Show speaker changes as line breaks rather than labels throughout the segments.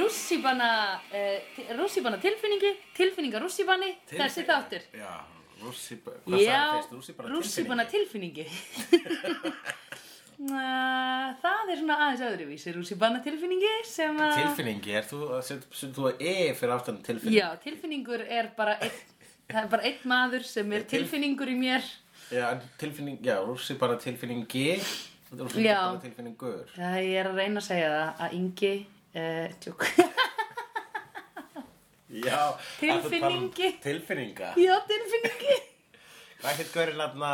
rússipanna uh, rússipanna tilfinningi tilfinninga rússipanni, þessi þáttur
Já, rússi Hvað
Já,
sagði fyrst?
rússipanna
Rússipanna
tilfinningi Næ, Það er svona aðeins öðruvísi rússipanna tilfinningi sem að
Tilfinningi, er þú að setja setja þú að e fyrir aftan tilfinning?
Já, tilfinningur er bara einn það er bara einn maður sem er
tilf-
tilfinningur í mér
Já, en tilfinning, já, rússi bara tilfinningi Rússi
Já.
bara tilfinningur
Það ég er að reyna að segja það að Ingi uh, tjók
Já, að þú talar um
Tilfinningi.
Tilfinninga
Já, tilfinningi
Hvað heit gaurinn aðna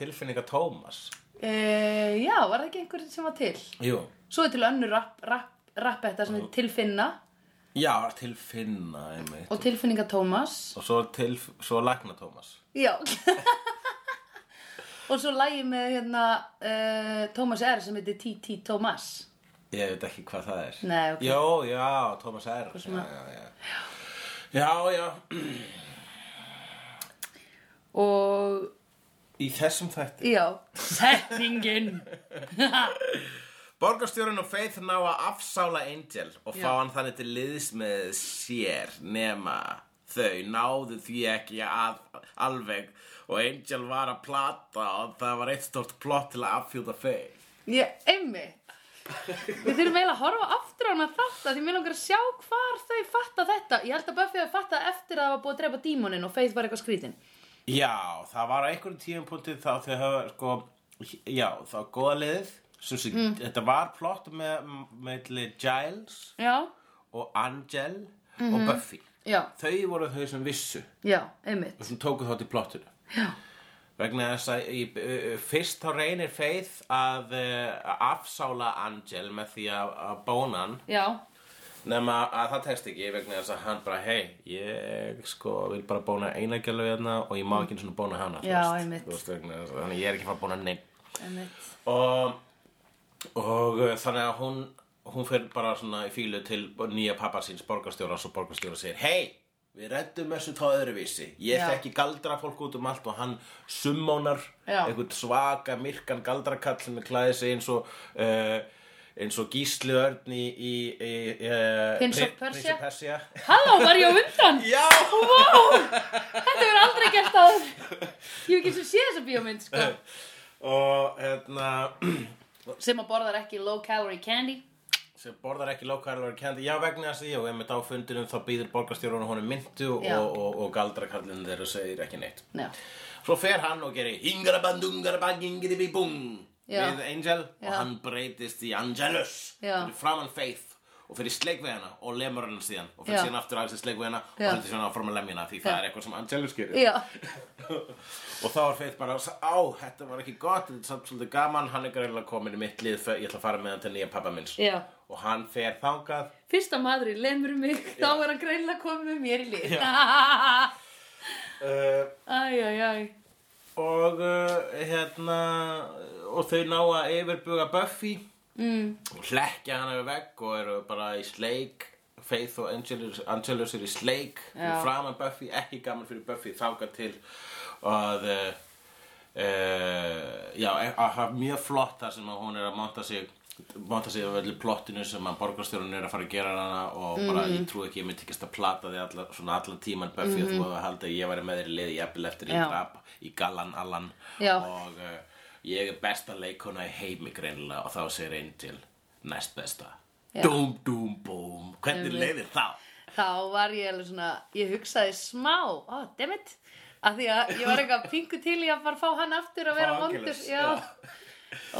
tilfinninga Tómas?
uh, Já, var það ekki einhver sem var til?
Jú
Svo er til önnur rapp, rapp, rapp sem er tilfinna
Já, tilfinna, einmitt
og tilfinninga Tómas
Og svo, tilf, svo lækna Tómas
Já Og svo lægi með hérna uh, Thomas R sem heitir T.T. Thomas
Ég veit ekki hvað það er
Nei, ok.
Jó, já, Thomas R já,
svona-
já, já. já, já
Og
Í þessum þætti
já Setningin
Borgarstjórun og Faith ná að afsála Angel og
Já.
fá hann þannig til liðs með sér nema þau náðu því ekki að, alveg og Angel var að plata og það var eitt stort plott til að affjúta Faith
Ég, einmitt Við þurfum eiginlega að horfa aftur á hana þátt að því mér langar að sjá hvar þau fatta þetta Ég held að Buffy hafi fattað eftir að það var búið að drepa dímonin og Faith var eitthvað skrítin
Já, það var á einhverjum tíum punktið þá þau hafa, sko, já, þá góða liðið, sem sé, þetta var plott með, með Giles
Já,
og Angel og Buffy.
já,
Þau voru þau sem vissu
já, einmitt
og sem tóku þátt í plottinu.
Já,
Vegna þess að í, uh, fyrst þá reynir Faith að uh, afsála Angel með því að, að bóna hann
já,
nema að það tekst ekki vegna þess að hann bara hei, ég sko vil bara bóna eina gælu hérna og ég má ekki eins og bóna hana þú
Já,
veist.
einmitt.
Þú veist, vegna þess að- þannig að ég er ekki að fara að bóna neinn
einmitt
og, og uh, þannig að hún hún fer bara svona í fílu til nýja pappa síns borgarstjóra og borgarstjóra segir hei, við reddum þessu þá öðruvísi ég
Já.
þekki galdra fólk út um allt og hann summónar
Já.
einhvern svaka myrkan galdrakall sem er klæðið sig eins og uh, eins og gísli örn í, í, í uh,
Prince of Persia.
Persia.
Halló, var ég á undan?
Já!
Wow, þetta verður aldrei gert að Ég hef ekki sem sé þessa bíómynd sko
og hérna
Sem að borðar ekki low calorie candy
sem borðar ekki low-calorie candy já vegna þess að ég og einmitt á fundinum þá býður borgarstjórun honum myndu og,
Já.
og, og galdrakallin þeirra segir ekki neitt
Já,
svo fer hann og gerir hingarabandungarabang ingiribibung
Já.
við Angel og
Já.
hann breytist í Angelus
Já.
fyrir framann Faith og fyrir sleik við hana og lemur hann síðan og
Já.
fyrir síðan aftur aðeins í sleik við hana og
Já.
heldur síðan áfram að lemja hana því
Já.
það er eitthvað sem Angelus gerir
já,
og þá er Faith bara á, þetta var ekki gott, þetta er samt svolítið gaman hann er greiðlega komin í mitt lið ég ætla að fara með hann til nýja pappa minns
já.
og hann fer þangað
Fyrsta maður í lemur mig Þá er hann greinlega komið með mér í lið
Já. uh,
Æj, æj, æj
og uh, hérna og þau ná að yfirbuga Buffy
Mm,
og hlekkja hann yfir vegg og eru bara í sleik Faith og Angelus, Angelus eru í sleik
Já.
framan Buffy, ekki gaman fyrir Buffy þáka til að uh, uh, já, að hafa mjög flott þar sem að hún er að monta sig monta sig af öllu plottinu sem að borgarstjórun er að fara að gera hana og bara
Mm.
ég trú ekki, ég myndi ekki að plata því alla, svona allan tíman Buffy og þú að halda að ég væri með þér í liði jafnvel eftir
Mhm. Já.
ég drap í gallan allan
Já.
og uh, ég er besta leikona í heimi greinilega og þá segir Angel næst besta
Já.
Dúm, dúm, búm, hvernig leiðir þá?
Þá var ég alveg svona Ég hugsaði smá, ó, oh, dammit Af því að ég var eitthvað pingu til í að fara að fá hann aftur að vera
Fá
vondur
Angelus,
Já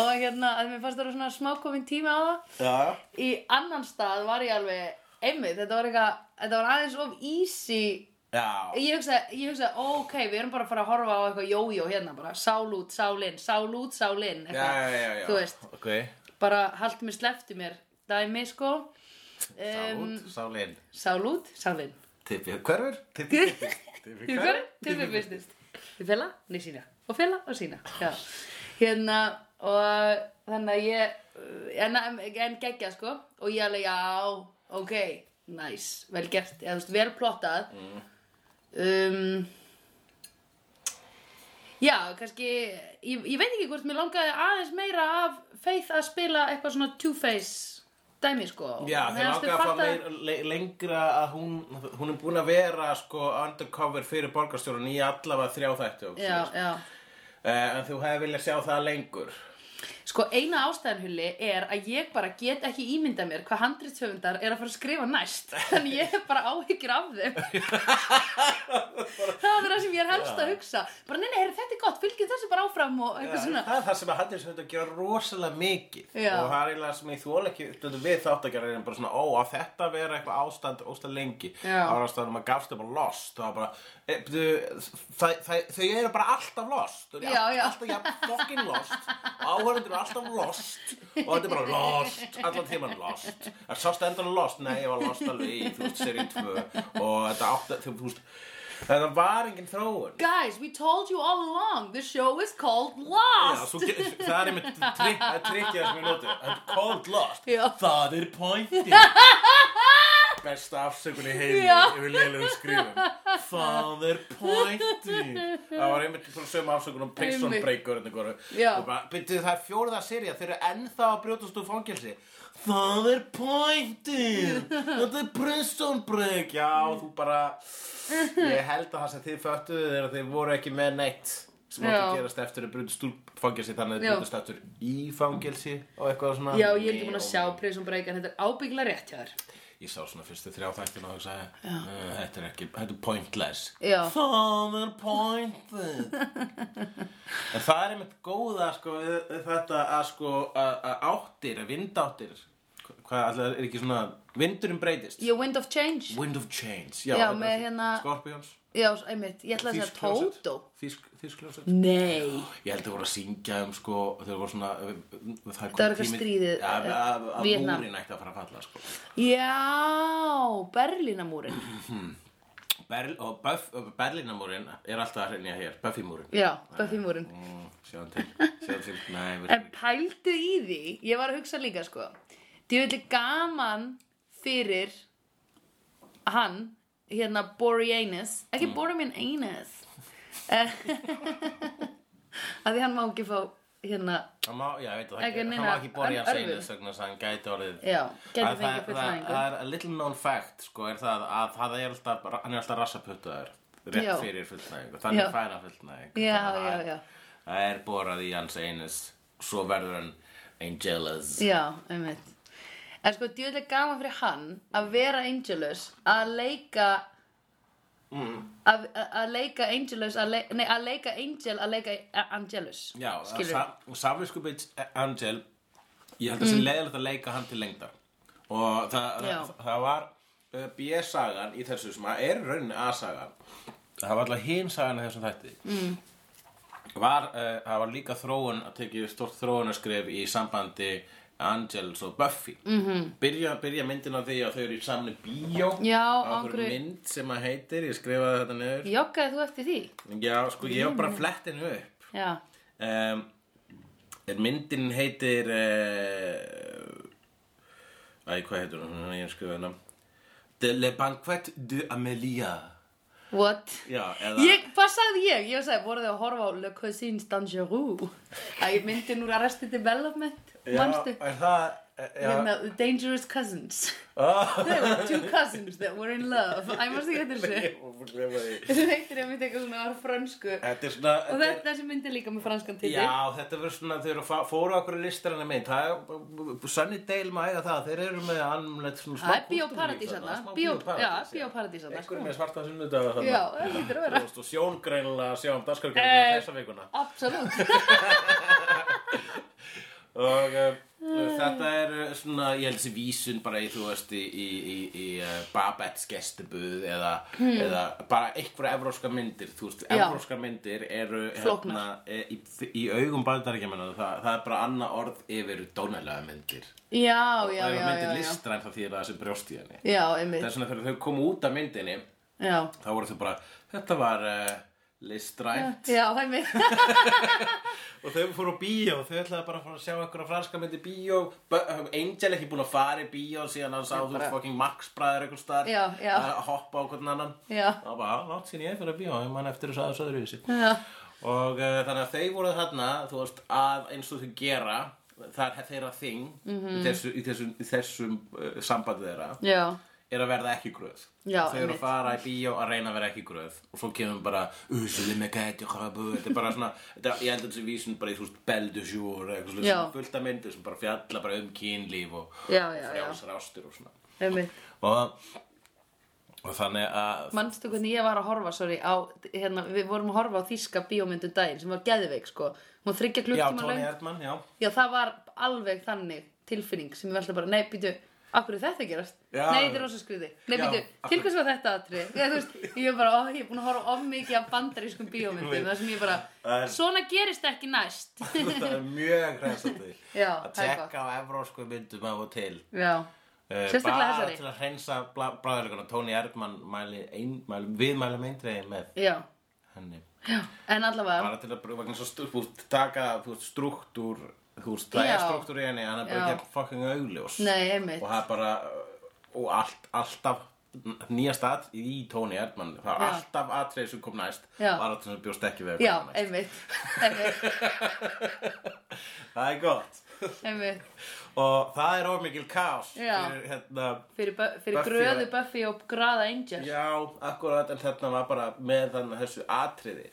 Og hérna, að mér fannst það svona smákomin tíma á það
Já,
í annan stað var ég alveg einmitt, þetta var eitthvað, þetta var aðeins of easy
já,
ég hugsaði, ég hugsaði, ó, ok, við erum bara að fara að horfa á eitthvað jójó hérna bara, sál út, sál inn, sál út, sál inn
já, já, já, já.
þú veist,
Ok,
bara hald mér slefti mér dæmi sko
sál
um,
út, sál inn
sál út, sál inn
Tippið hverfur, tippið business Tippið
Til hverju? Til fyrir business Til fela, nei sína Og fela og sína Já Hérna og þannig að ég uh, En, en geggja sko Og ég alveg já, ok, nice Vel gert, eða þú veist, vel plottað
Mm.
Um Já, kannski, ég, ég veit ekki hvort mér langaði aðeins meira af Faith að spila eitthvað svona two-face dæmi sko
Já,
Mér fannst
þeir langaði að fá
fatta-
meir, le, lengra að hún, hún er búin að vera sko undercover fyrir borgarstjórun í allavega þrjá þættu.
Já, já
Eh, en þú hefði viljað sjá það lengur.
Sko eina ástæðan hulli er að ég bara get ekki ímynda mér hvað handritshöfundar er að fara að skrifa næst þannig ég hef bara áhyggjur af þeim það var það sem ég er helst að hugsa bara neina, er þetta er gott, fylgjum þessu bara áfram og
Já,
eitthvað svona
það er það sem að Hannes höfðu að gera rosalega mikið
Já.
og það er eiginlega sem ég þóla ekki stundum við þátt að gera bara svona ó að þetta vera eitthvað ástand óstað lengi
Já.
á ástandum að gafst upp á lost það var bara, e, þau, það, það, þau eru bara alltaf lost þau eru
Já, já.
alltaf jafn fucking lost og áhörðundur eru alltaf lost og þetta er bara lost, allan tíman lost það sást endan lost, nei ég var lost alveg í þú veist serið 2 og þetta átt þú veist þetta var engin þróun
Guys, we told you all along the show is called
Já,
Lost
svo, ge- það er einmitt trikk, það er trikkið sem ég notu Þetta er cold lost
Já.
Það er pointi Besta afsökun í heimi
Já.
yfir leilegum skrifum Það er pointi Það var einmitt svona sömu afsökun um prison
Einmitt.
breaker og bara,
Já.
byrju það er fjórða serið þeir eru ennþá að brjótast úr fangelsi Það er pointi Þetta er prison break Já, þú bara Ég held að það sem þið föttuðu er að þið voru ekki með neitt sem átti
Já.
að gerast eftir að brutist úr fangelsi þannig að þið
Já.
brutist eftir í fangelsi og eitthvað svona
Já, ég er ekki búin að
Nei,
sjá Prison Break en þetta er ábyggla rétt hjá þér
Ég sá svona fyrstu þrjá þættina og hugsaði "Eh, Þetta er ekki, þetta er pointless
Já.
Það er pointless En það er einmitt góða sko, við- við þetta að sko að að áttir, að vindáttir hvað alltaf er ekki svona vindurinn breytist
Your Wind of Change
Wind of Change Já,
Já,
þetta er
með
fínt.
hérna-
Scorpions
Já, einmitt, ég ætla að segja
Þýsk hljómsveit.
Toto
Þýsk- Þýsk hljóset
Nei
Ég held að voru að syngja um sko þegar voru svona eh, það
Það var eitthvað stríðið,
að,
eh,
að, að
Víetnam.
múrin ætti að fara að falla sko.
Já, Berlínamúrin
Berl, og Buff, Berlínamúrin er alltaf að hreinja hér Buffymúrin
Já, Buffymúrin
mm, sjáum til, sjáum til Nei, við
En pældu í því, ég var að hugsa líka sko Djöfulli gaman fyrir hann, hérna Boreanaz Ekki mm. Boreanaz Eh, Af því hann má ekki fá hérna
hann má, já, ég veit það
Ekki
ekki, hann
neina
má ekki borja
örvun.
seinu vegna þess að hann gæti orðið
Já, gæti
Að
fengið
það, það,
fullnægingu.
það er a little known fact sko, er það að það er alltaf, hann er alltaf rassaputtaður rétt
Já.
fyrir fullnæðingu þannig
Já.
fær hann fullnæðingu
Já,
Þannig að
já,
það er-
já.
það er borað í hans einus svo verður hann Angelus
Já, einmitt En sko, djöfulli gaman fyrir hann að vera Angelus að leika að, að- að leika Angelus að leika, nei, að leika Angel að leika A- Angelus
Já,
skilur
Safiskubits Angel ég held að það sé leiðilegt að leika hann til lengdar og það,
Mm. Já.
það, það var uh, B-sagan í þessu sem að er raunin A-sagan það var alltaf hin sagan í þessum þætti mm. var, uh, það var líka þróun að tekið stort þróunaskref í sambandi Angels og Buffy mm -hmm. byrja, byrja myndin á því að þau eru í samni bíó
Mhm. Já,
á
á
einhverju
einhverju-
mynd sem að heitir, ég skrifaði þetta niður
Joggaði þú eftir því?
já, sko, ég var bara flettin upp
Já,
um, er myndin heitir uh, æ, hvað heitir hún, Hún- ég er skrifað hennar De Le Banquet de Amélia
what?
já, eða
Ég, hvað sagði ég? Ég sagði, voruð þið að horfa á Le Cousins Dangerous að ég myndi núr Arrested Development
já,
manstu?
er það eh, já,
Hérna, The Dangerous Cousins
Ah,
There were two cousins that were in love Æ, manstu ekki eftir þessu?
ég var búin að gleyma því.
Þetta heitir einmitt eitthvað svona á frönsku
þetta er svona
Og
þetta er-
þetta, þessi mynd er líka með franskan titill
Já, þetta verður svona, þeir eru að fa- fóru okkur í listarana mynd, hérna það er, Sunnydale má eiga það, þeir eru með anumlegt svona smá
Það er
kúltúr í
bíóparadís
þarna,
þarna.
smá
Bíó- já,
bíóparadís,
bíóparadís þarna,
Einhver
sko.
með svarta sunnudaga þarna.
Já, það hlýtur að vera.
Þú veist, og sjón greinilega að sjá um dagskargreinlega
Eh.
þessa vikuna.
Absolutt
Og uh,
Eh.
þetta er uh, svona, ég held þessi vísun bara í, þú veist, í, í, í, í uh, Babettes gestubuð eða, eða bara einhverja evróska myndir, þú veist,
Hmm. Já.
evróska myndir eru
Flóknar.
e, í, í augum bandaríkjamanna, það, það er bara annað orð yfir dónalega myndir.
Já, já,
og ef
já,
að
já,
myndin
já.
listræn þá þýðir það þessi brjóst í henni
Já,
þess
einmitt
vegna þegar þau komu út af myndinni
Já,
þá voru þau bara, þetta var uh, listræn
já einmitt
og þau fóru á bíó, þau ætlaði bara að fara að sjá einhverja franska myndi bíó B- Angel ekki búin að fara í bíó síðan hann sá
Já,
þú
bara-
fucking Max bræður einhvers staðar
Já, já.
að hoppa á hvern annan
Já.
og bara, látt sín ég fyrir að bíó, ég man eftir þessu eh, aðeins öðru í þessi
Já,
og uh, þannig að þau voru þarna, þú veist, að eins og þau gera það er þeirra þing
Mhm.
í, þessu, í þessum, í þessum uh, sambandi þeirra
já,
er að verða ekki gröð
Já,
þau eru
einmitt.
að fara í bíó að reyna að vera ekki gröð og svo kemur bara usuði með gæti og hrabu þetta er bara svona, þetta, ég held að þessi vísun bara í þú veist beldusjúr eða eitthvað
Já.
svona fullt af myndir sem bara fjalla bara um kynlíf og
já, já, já.
frjálsar ástur og svona
Einmitt.
og, og þannig að
Manstu hvernig ég var að horfa, sorry, á, hérna, við vorum að horfa á þýska bíómyndu daginn sem var geðveik, sko. Hún var þryggja
já,
klukktíma
Tony
löng.
Erdmann, já
Já, það var alveg þannig tilfinning sem ég velta bara, nei, býtu, akkur er þetta að gerast?
Já.
Nei, þetta er rosa skriði. Nei,
Já,
býtu,
af
til
hverju-
hvers var þetta aðri? Ég, þú veist, ég er bara, ó, ég er búin að horfa of mikið af bandarískum bíómyndum, það sem ég bara,
Það er-
svona gerist ekki næst.
þetta er mjög hrensandi
Já,
að
það er gott.
tekka á evrósku myndum af og til
Já,
Eh,
Sérstaklega
bara
þessari.
til að hreinsa bræðurleikana Tony Erdmann mæli, ein, mæli, við mælum eindreiði með
já,
henni
já, en allavega,
bara til að vegna svo stu, búst, taka þú veist, struktúr þú veist, það er
Já.
struktúr í henni hann er bara
Já.
ekki fucking augljós
nei, einmitt,
og það er bara og allt, alltaf nýja stað í Tony Erdmann það er
Já.
alltaf atrið sem kom næst
Já.
var alltaf sem bjóst ekki við að
já,
koma næst.
einmitt, einmitt,
það er gott
einmitt,
og það er of mikil kaos
Já.
fyrir, hérna,
fyrir, bu- fyrir
Buffy
gröðu
og-
Buffy og graða Angel.
já, akkurat en þarna var bara með þannig þessu atriði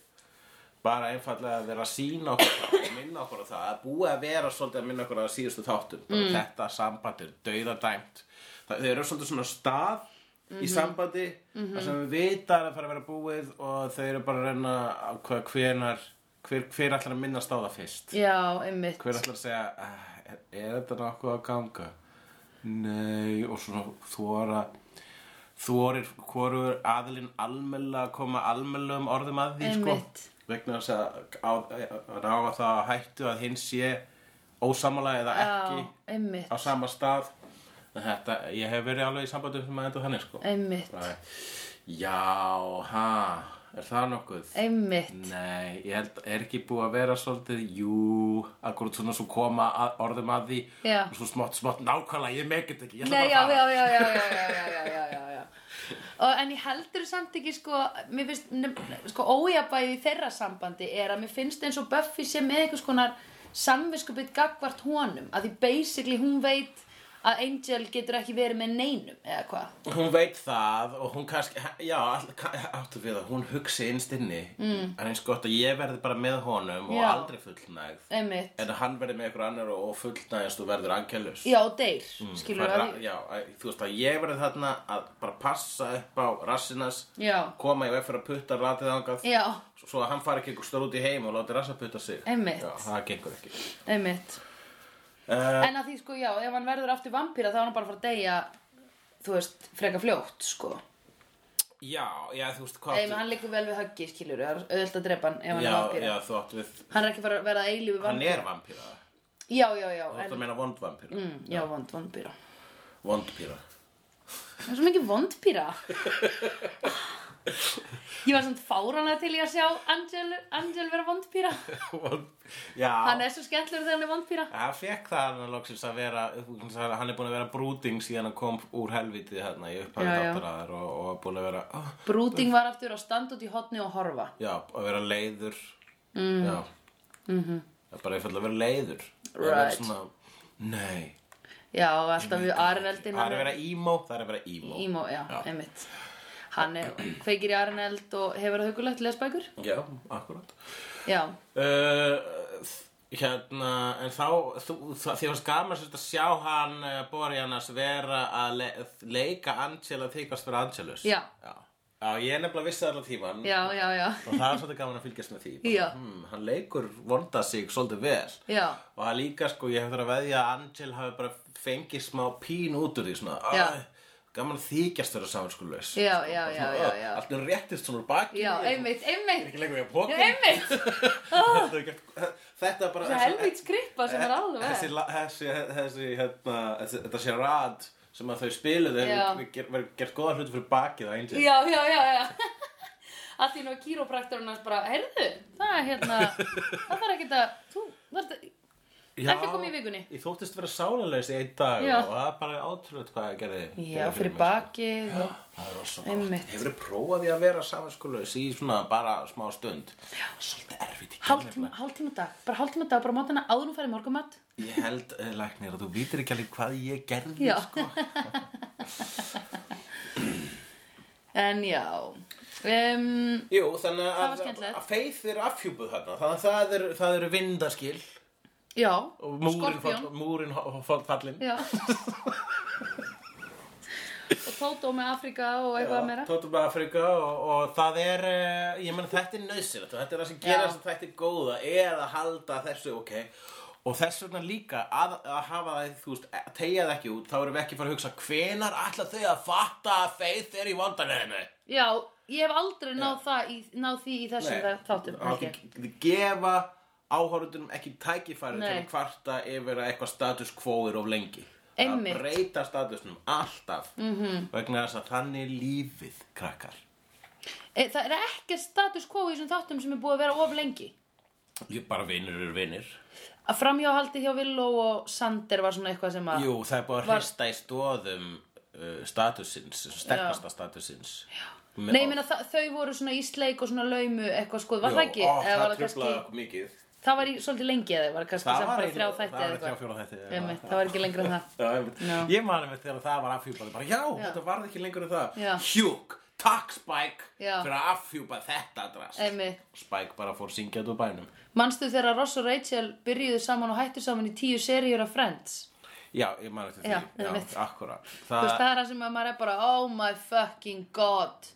bara einfallega að vera að sína okkur það og minna okkur á það að búið að vera svolítið að minna okkur á það síðustu þáttum bara þetta samband er dauðadæmt það, þau eru svolítið svona stað í sambandi þar sem við vita að það fara að vera búið og þau eru bara að reyna að hvað hvenar hver, hver ætlar að minnast á það fyrst
Já, einmitt,
hver ætlar að segja "Ah, er, er þetta nokkuð að ganga nei og svona þóra þórir hvorur aðilinn almennilega að koma almennilegum orðum að því sko
Einmitt.
vegna þess að á, að ráða það á hættu að hinn sé ósamalega eða
já,
ekki
einmitt,
á sama stað En þetta, ég hef verið alveg í sambandum sem að enda þannig sko
einmitt,
Æ, já, ha, er það nokkuð
einmitt.
Mm. Nei, ég held, er ekki búið að vera svolítið, jú, akkurat svona svo koma að, orðum að því
Já.
og svo smátt, smátt, nákvæmlega, ég megget ekki, ég ætla
Nei,
bara
já,
að fara.
já, já, já, já, já, já, já, já, já, já. Og, en ég heldur samt ekki, sko, mér finnst, nefn- sko, ójabæði í þeirra sambandi er að mér finnst eins og Buffy sé með einhvers konar samviskupið gagvart honum, að því basically hún veit að Angel getur ekki verið með neinum, eða hvað.
Hún veit það og hún kannski, já, all- ka- áttu við það, hún hugsi innst inni, mm. en eins gott að ég verði bara með honum og
Já.
aldrei fullnægð,
Einmitt.
en að hann verði með ykkur annar og fullnægðast og verður angelus.
Já, og deyr, mm, skilur
Það
að
er ra-
því.
Já, að- þú veist að ég verði þarna að bara passa upp á rassinas
Já.
koma í veg fyrir að putta ratið angað
Já,
svo að hann fari ekki einhver stór út í heim og láti rassa putta sig
Einmitt.
Já, það gengur ekki
einmitt.
uh,
En að því, sko, já, ef hann verður aftur vampíra þá er hann bara að fara að deyja, þú veist, freka fljótt, sko.
Já, já, þú veist hvað
Nei, menn hann liggur vel við höggi, skilur, það er auðvitað að drepa hann ef hann
já,
er vampýra.
já, þú átt við
Hann er ekki fara að verða eilífi
Hann
vampýra.
er vampíra
Já, já, já,
Þú átt
en,
að meina vond vampíra
mm, já, vond, vondpýra.
Vondpíra
Það er svo mikið vondpýra. Ég var samt fáranlega til í að sjá Angel, Angel vera vondpýra.
Vond- Já,
Hann er svo skemmtlur þegar hann er vondpýra.
hann fekk það hann loksins að vera Hann er búin að vera brúting síðan að kom úr helviti þarna í upphæðu
Já, já.
þáttaraðar og, og búin að vera oh,
Brúting var aftur að standa út í hotni og horfa.
Já, að vera leiður mm. Já mm -hmm. Bara einfallega að vera leiður Það
Mhm.
er
Right.
svona, Nei
Já, og alltaf við Arneldin.
Það er að vera ímó Það er að vera ímó
Ímó, já, einmitt. Hann er, kveikir í Arneld og hefur að hugulegt lesbækur.
Já, akkurat
Já,
uh, Hérna En þá þú, það, Því var skamar sérst að sjá hann uh, Borjanas vera að le, leika Angela þykast vera Angelus
Já.
Já, Já, ég er nefnilega vissi allan tíman
já, já, já.
Og það er svolítið gaman að fylgjast með því Bara,
Já.
hmm, Hann leikur vonda sig svolítið vel
Já,
og það líka sko, ég hef þurft að veðja að Angel hafi bara fengið smá pín út úr því svona,
Já.
"Æ, gaman að þykjast þeirra samvinskulegs
Já, já, já, já, já.
allt er réttist svona úr baki
já,
ég
einmitt, einmitt.
er ekki lengur ég að
Já,
póka
einmitt.
Þetta er ekki- þetta er bara
Það er helvít skrippa sem er alveg
þessi, la- þessi, þessi, hérna, þessi þetta sé rad sem að þau spiluðu
Já.
hefur ger- verið gert góða hluti fyrir bakið á Angel
Já, já, já, já Að því nú að kýrópraktorinn hans bara Heyrðu, það er hérna Það þarf ekki að Þú, þarf að
Já,
Ekki kom í vikunni.
Ég þóttist vera sálinleis í einn dag
Já.
og það er bara átrúð hvað ég gerði.
Já,
gerði
fyrir
mig,
bakið og...
sko. Það er rosa
Einmitt.
gott. Hefur þið prófað því að vera samanskuleis í svona bara smá stund? Já. Svolítið erfitt í
Hálftíma, hálftíma dag, bara hálftíma dag, bara mótana áður en þú færi morgumat
Ég held, eh, læknir, að þú vítir ekki alveg hvað ég gerði,
Já.
sko.
En já um,
Jú, þannig
Það var
að,
skemmtilegt.
að feið er afhjúpuð þarna. Þannig að það eru það eru vindaskil
Já,
og múrin,
Skorpion.
fall, múrin fall, fallin.
Já Og Tótó með Afrika og eitthvað meira
Tóttum bara Afrika og, og það er, eh, ég menn þetta er nöðsynlegt og þetta er það sem
Já.
gerir þess að þetta er góða er að halda þessu, ok og þess vegna líka að, að hafa það, þú veist, e- tegja það ekki út þá erum við ekki fara að hugsa hvenar ætla þau að fatta að feið er í vandarleginu
Já, ég hef aldrei náð, það í, náð því í þessum þa- þáttum ekki.
Þið gefa áhorundunum ekki tækifæri til
Nei.
að kvarta yfir að eitthvað status quo er of lengi
Einmitt. Mhm.
að breyta statusnum alltaf -hmm. vegna þess að þannig er lífið krakkar
E, Það er ekki status quo í þessum þáttum sem er búið að vera of lengi
Ég bara vinir eru vinir
Að framhjáhaldi hjá Villó og Sander var svona eitthvað sem að
Jú, það er búið að
Ah. Var-
hrista í stóðum uh, statusins, sterkasta statusins Já,
Nei, ég meina þa- þau voru svona í sleik og svona laumu eitthvað skoð, var það ekki?
Ó,
Eða
það
var
truflaði
kannski-
okkur mikið
Það var í svolítið lengi eða var kannski
Það
sem
var
bara
í-
þrjá
það
þætti
var
eða
í þrjá,
eitthvað.
fjóra þætti, já.
Einmitt, Það var ekki lengra en það.
Já, einmitt.
Já.
Ég manum þetta þegar það var afhjúpað bara, já, þetta varð ekki lengur en það
Já.
Hjúk, takk Spike
Já.
fyrir að afhjúpa þetta drast
Einmitt.
Spike bara fór syngjað úr bænum
Manstu þegar Ross og Rachel byrjuðu saman og hættu saman í tíu seríur af Friends?
Já, ég man eftir því
Já,
já
einmitt.
akkúrat.
Þú veist,
Það,
það er það sem að maður er bara, oh my fucking god.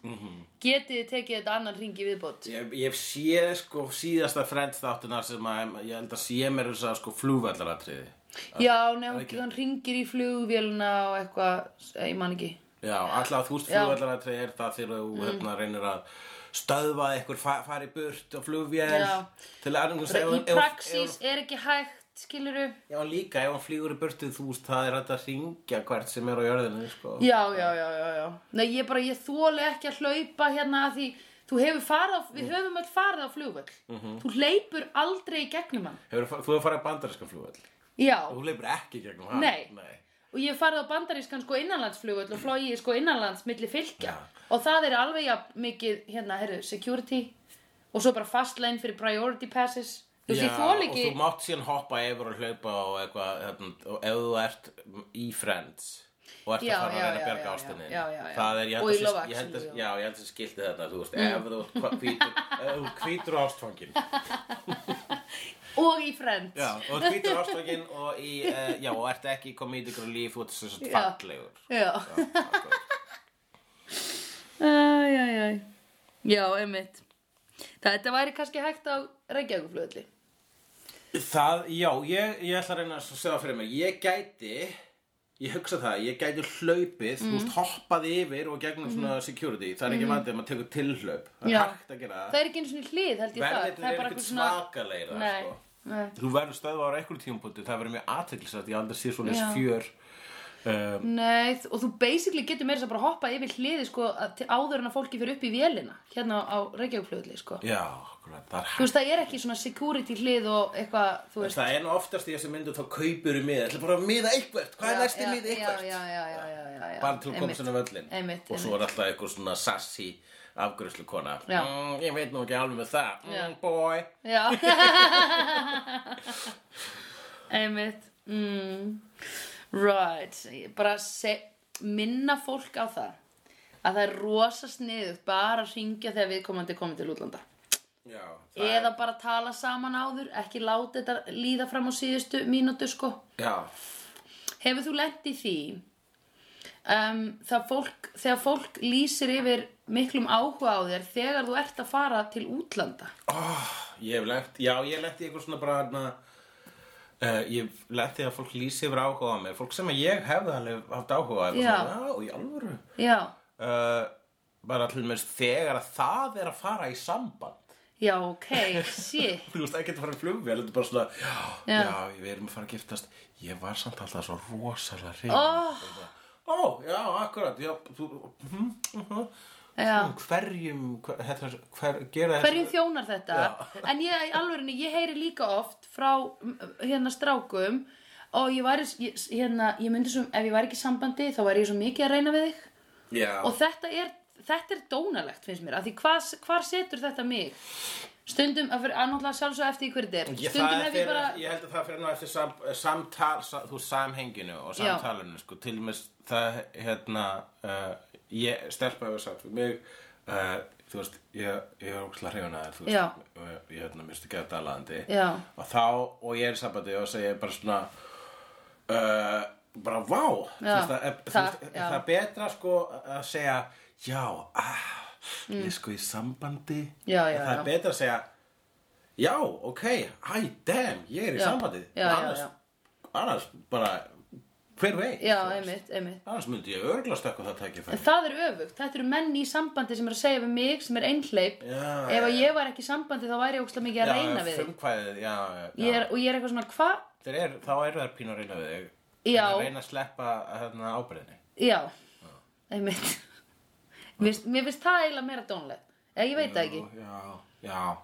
Getið þið tekið þetta annan ring í viðbót?
Mhm. Ég, ég hef séð sko síðasta Friends þáttuna sem að ég held að sé mér þess að sko flugvallaratriði
Já, nefnum,
það ekki.
hann ringir í flugvélina og eitthvað, eh, ég man ekki.
Já, alltaf þú veist
Já. Mm.
flugvallaratrið er það þegar þú hérna, reynir að stöðva eitthvað fa fara í burt og flugvél
Já.
til að annars
Bara í praxis er ekki hægt, skiluru.
Já, líka ef hann flýgur í burtu þú veist það er hægt að ringja hvert sem er á jörðinu sko.
Já, já, já, já, já. Nei, ég bara, ég þóli ekki að hlaupa hérna að því þú hefur farið á,
Mm.
við höfum öll farið á flugvöll.
Mhm.
Þú hleypur aldrei í gegnum hann.
Hefur, þú hefur farið að bandarinska flugvél
Já.
Þú leifur ekki gegnum hann
Nei. Og ég hef farið á bandarískan sko innanlandsflugvöll og flóið sko innanlands milli fylgja.
Já.
Og það er alveg jafn mikið, hérna, herru, security og svo bara fast lane fyrir priority passes. Þú veist, ég þól ekki,
og þú mátt síðan hoppa yfir og hlaupa og eitthvað hérna, og ef þú ert í Friends og ert
Já,
að fara
já,
að reyna
já,
að berga
já,
ástinni
já, já, já.
það er, ég
Og í
held að
Love
sé- ég held að,
Actually, já. Mm.
já, ég held að sé skildi þetta þú veist, ef þú ert hva- hvítur ef þú hvítur ástfangin
og í friends.
já, og þú hvítur ástfangin og í, uh, já, og ert ekki komið í ykkur líf þú ert sem sagt
Já.
fallegur
Já.
Já, akkurat.
Æj, æj, æj. Já, einmitt. Þetta væri kannski hægt á Reykjavíkflugvölli.
það, já, ég, ég ætla að reyna að segja það fyrir mig ég gæti ég hugsa það, ég gæti hlaupið þú
Mm.
veist, hoppað yfir og gegnum svona security það er ekki vandið að maður tekur tilhlaup það
Já.
er hægt að gera
Það er ekki einu svona hlið, held ég það.
verðirnir
Það
er
bara
ekkert
svona-
svakaleira
Nei,
sko.
nei.
þú verður stöðvar á einhverjum tímapunktu það verður mjög aðteglisætt, ég aldrei sé svona
Já.
fjör um,
Nei, þ- og þú basically getur meira þess að bara hoppa yfir hliði sko að- til áður en að fólki fyrir upp í vélina hérna á Reykjavíkflugulli sko.
já, akkurat, það er
Þú veist, það er ekki svona security hlið og eitthvað, þú veist.
Það er nú oftast í þessu myndu þá kaupur í miða, ætla bara að miða eitthvert, hvað er næsti miða
Já,
eitthvert?
já, já, já, já, já.
bara til að koma
Einmitt.
svona völlin
Einmitt,
og svo er alltaf einhver svona sassi afgröðslu kona
Já.
mm, ég veit nú ekki alveg með það
Já.
mm, boy
Já. einmitt. Mm. Right. Ég Bara se, minna fólk á það að það er rosa sniðugt bara að ringja þegar viðkomandi er komið til útlanda.
já, það er-
Eða bara tala saman áður, ekki láta þetta líða fram á síðustu mínútu sko.
já,
Hefur þú lent í því um, það fólk, þegar fólk lýsir yfir miklum áhuga á þér þegar þú ert að fara til útlanda?
ég hef lent já, ég hef lent í einhver svona bara hana, uh, ég hef lent í að fólk lýsi yfir áhuga á mig fólk sem að ég hefði alveg haft áhuga á eitthvað
Já.
svona, já, í alvöru
Já,
uh, bara til mér þegar að það er að fara í samband
já, ok, shit.
þú veist, ekki að fara í flugvél, þetta er bara svona já, já,
Já.
við erum að fara að giftast ég var samt alltaf svo rosalega reynd
Oh,
Ó, já, akkurat, já, þú, mhm, mhm.
Já.
hverjum hver, hver, hver, gera
hverjum þjónar þetta
Já.
en ég, í alvörinni, ég heyri líka oft frá mm, hérna strákum og ég væri, s- ég- s- hérna, ég myndi svo ef ég væri ekki í sambandi, þá væri ég svo mikið að reyna við þig
Já,
og þetta er, þetta er dónalegt, finnst mér, af því hvað, hvar setur þetta mig stundum, að fyrir annáttúrulega sjálfsög eftir í hverju þetta er
ég,
stundum
það
hef
fyrir,
ég bara
ég held að það fyrir nú eftir sam, eh, samtal, sa, þú veist, samhenginu og
Já.
samtalinu, sko, til og með það, hérna, uh, ég stelpa hefur sagt við mig, uh, þú veist, ég, ég er ókslega hrifnaðið, þú
Já.
veist, og ég, ég hérna, misti gæta alandi,
Já.
og þá, og ég er í sambandi og segja bara svona, uh, bara vá, þú
Já.
veist, það, er- þú
Það-
veist,
já.
það er betra, sko, að segja, já, ah, ég er sko í sambandi,
Mm. Já, já,
það
já.
er betra að segja, Já, ok, hæ, damn, ég er í
Já,
sambandi
já, já,
annars,
já.
annars bara, hver veit
já,
þú veist?
einmitt, einmitt
Annars myndi ég örgla stökku það
En
tækifæri
það er öfugt, þetta eru menn í sambandi sem er að segja við mig sem er einhleip
Já,
Ef að
já,
ég var ekki í sambandi þá væri ég ógstlega mikið að reyna við þig
Frumkvæðið, já, já,
Ég er- Og ég er eitthvað svona, hvað
Þeir eru, þá eru þær pínu að reyna við þig
Já.
Að Reyna að sleppa hérna, ábyrðinni
Já, einmitt Mér finnst- Mér finnst það eiginlega meira dónlegt Eða ég veit það ekki
Jú, Já, já, já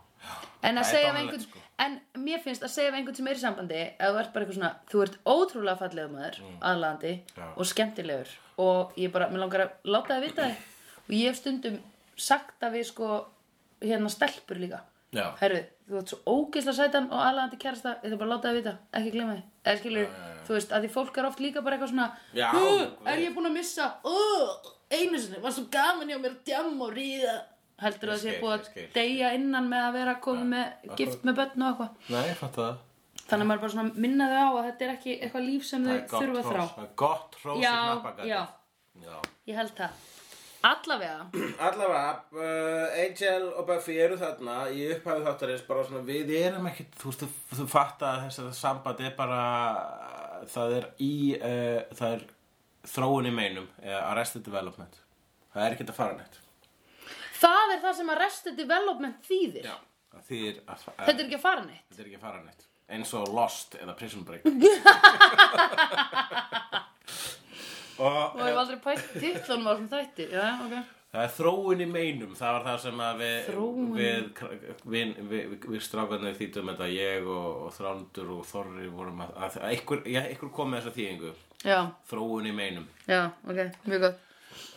En að
Það er
segja við
dónalegt,
einhvern
sko.
En mér finnst að segja við einhvern sem er í sambandi Ef þú ert bara eitthvað svona Þú ert ótrúlega fallega maður aðlandi
Mm. Já.
Og skemmtilegur Og ég bara, mér langar að láta það vita þig Og ég hef stundum sagt að við sko Hérna stelpur líka
Já.
Herru, þú ert svo ógeisla sætan og aðlandi kærasta Ég þarf bara að láta það vita, ekki gleyma því Eða skilur, þú veist, að því fólk er oft líka bara eitthvað svona
Já,
"Hú, Er
guð."
ég búin að missa uh, Einu sinni, var svo gaman hjá mér að djamma og ríða Heldur
Ég
það sé
skil,
búið
ég skil.
að deyja innan með að vera komið með
akkurat.
gift með börn og eitthvað
Nei, ég fatt það
Þannig að maður bara svona minna þau á að þetta er ekki eitthvað líf sem
Það
þau
er gott
þurfa að
hrós,
þrá
það er gott hrós í
Já,
hnappagati.
já.
Já
Ég held það Allavega,
Allavega, uh, Angel og Buffy eru þarna í upphæðu þáttarins bara svona við erum ekkit, þú veist, þú, þú fatta að þessi samband er bara það er í, uh, það er þróun í meinum, uh, arrested development það er ekkit að fara neitt
það er það sem að resti development þýðir
það þýðir að, að,
Þetta er ekki að fara neitt
þetta er ekki að fara neitt eins og Lost eða Prison Break og
Þú hefur aldrei pælt titlunum á þessum þætti Já, ok
Það er þróun í meinum, það var það sem að við,
Þróun.
við, við, við, við, við strákanir þýttum þetta, ég og, og Þrándur og Þorri vorum að, að, að ykkur, já, ykkur kom með þessa þýðingu,
Já,
þróun í meinum.
já, ok, mjög gott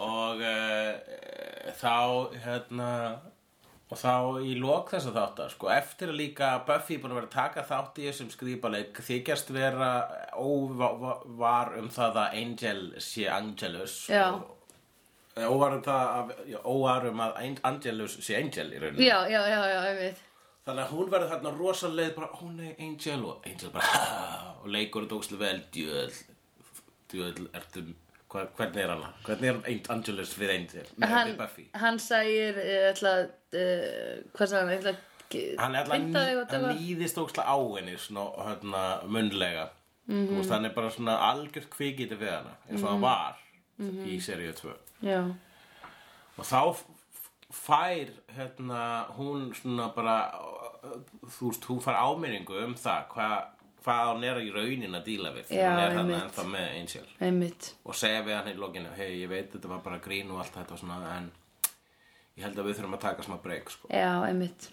Og uh, þá, hérna, og þá í lok þessa þáttar, sko, eftir að líka Buffy er búin að vera að taka þátt í þessum skrýpaleik, þykjast vera óvar um það að Angel sé Angelus
Já.
og óvarum það að, já, óvarum að Ein- Angelus sé Angel í rauninu
Já, já, já, já, einmitt
þannig að hún verður þarna rosaleg bara, ó nei, Angel og Angel bara, "Ha," og leikur þetta óslega vel djöðl, djöðl ertu, hva, hvernig er hann hvernig er Ein- Angelus við Angel með
hann,
hann, Buffy
hann segir ég ætla að, uh, hvað sagði hann, ég ætla
hann er
að
alltaf,
binda þig og
hann
döga
líðist óslega á henni svona, hérna, munlega mm -hmm. veist, hann er bara svona algjört kvikið við hana, eins og hann var í seríu 2
já,
og þá f- f- fær hérna, hún svona bara uh, þú veist, hún fær áminningu um það hvað hva hún er í raunin að díla við
Já,
hún er hann
einmitt.
ennþá með Angel
einmitt
og segja við hann í lokinu hei, ég veit þetta var bara grín og allt þetta svona, en ég held að við þurfum að taka smá break sko.
já, einmitt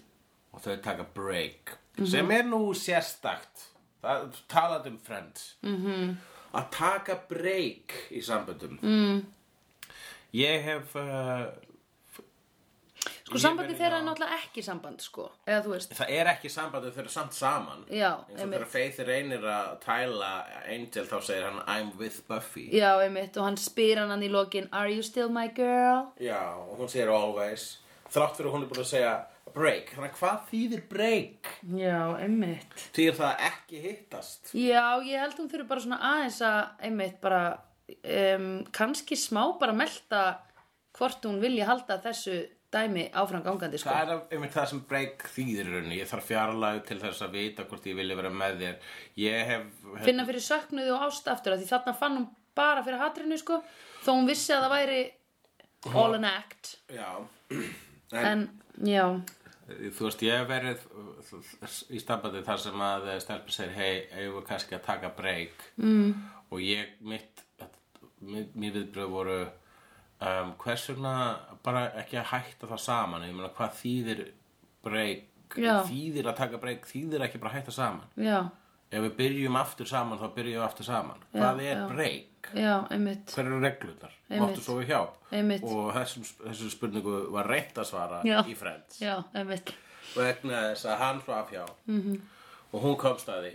og þau taka break
Mhm.
sem er nú sérstakt það talað um friends -hmm.
Mhm.
að taka break í samböndum mm. ég hef uh,
sko
Ég
sambandi
verið-
þeirra
já.
er náttúrulega ekki samband sko, eða þú veist
það er ekki sambandi þau eru samt saman
já,
eins og
einmitt,
þegar Faith reynir að tæla Angel þá segir hann I'm with Buffy
já, einmitt og hann spyr hann hann í lokin are you still my girl
já og hún segir always þrátt fyrir að hún er búin að segja break þannig að hvað þýðir break
já, einmitt
þýðir það að ekki hittast
já, ég held hún þurfi bara svona aðeins að einmitt bara um, kannski smá bara melta hvort hún vilja halda þessu dæmi áfram gangandi sko
það er einmitt það sem break þýðir í rauninni ég þarf fjarlæg til þess að vita hvort ég vilja vera með þér ég hef
finna fyrir söknuði og ást aftur af því þarna fann hún bara fyrir hatrinu sko þó hún vissi að það væri all an act
já
en já,
þú veist ég hef verið uh, í stambandi þar sem að stelpur segir hei, eigum við kannski að taka break mm. og ég, mitt mitt- mín viðbröð voru um, hvers vegna bara ekki að hætta það saman ég meina hvað þýðir breyk
Já.
þýðir að taka breyk, þýðir ekki bara að hætta saman
já,
ef við byrjum aftur saman þá byrjum við aftur saman hvað er
já.
breyk,
já, einmitt
hver eru reglunar
Einmitt.
máttu svo við hjá
Einmitt.
og þessum, þessum spurningu var reynt að svara
Já.
í Friends
já, einmitt
vegna þess að hann svaf hjá -hmm. og hún komst að því